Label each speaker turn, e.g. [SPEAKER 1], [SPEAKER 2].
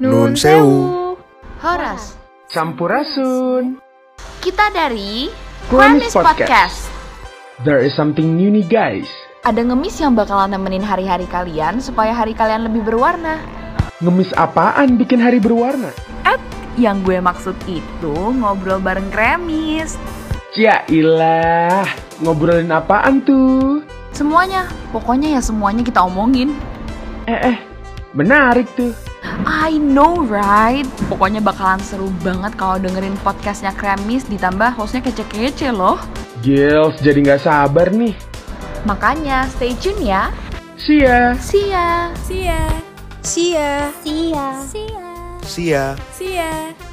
[SPEAKER 1] Nun sewu.
[SPEAKER 2] Horas.
[SPEAKER 3] Campurasun.
[SPEAKER 2] Kita dari
[SPEAKER 3] Kuanis
[SPEAKER 2] Kuanis
[SPEAKER 3] Podcast.
[SPEAKER 2] Podcast.
[SPEAKER 3] There is something new nih guys.
[SPEAKER 2] Ada ngemis yang bakalan nemenin hari-hari kalian supaya hari kalian lebih berwarna.
[SPEAKER 3] Ngemis apaan bikin hari berwarna?
[SPEAKER 2] Yang gue maksud itu ngobrol bareng kremis.
[SPEAKER 3] Yailah, Ya ngobrolin apaan tuh?
[SPEAKER 2] Semuanya, pokoknya ya semuanya kita omongin.
[SPEAKER 3] Eh eh, menarik tuh.
[SPEAKER 2] I know right. Pokoknya bakalan seru banget kalau dengerin podcastnya kremis ditambah hostnya kece-kece loh.
[SPEAKER 3] Girls jadi nggak sabar nih.
[SPEAKER 2] Makanya stay tune ya.
[SPEAKER 3] See ya.
[SPEAKER 2] See ya.
[SPEAKER 4] See ya. See ya.
[SPEAKER 5] See ya.
[SPEAKER 4] See ya.
[SPEAKER 1] See ya.
[SPEAKER 4] See ya.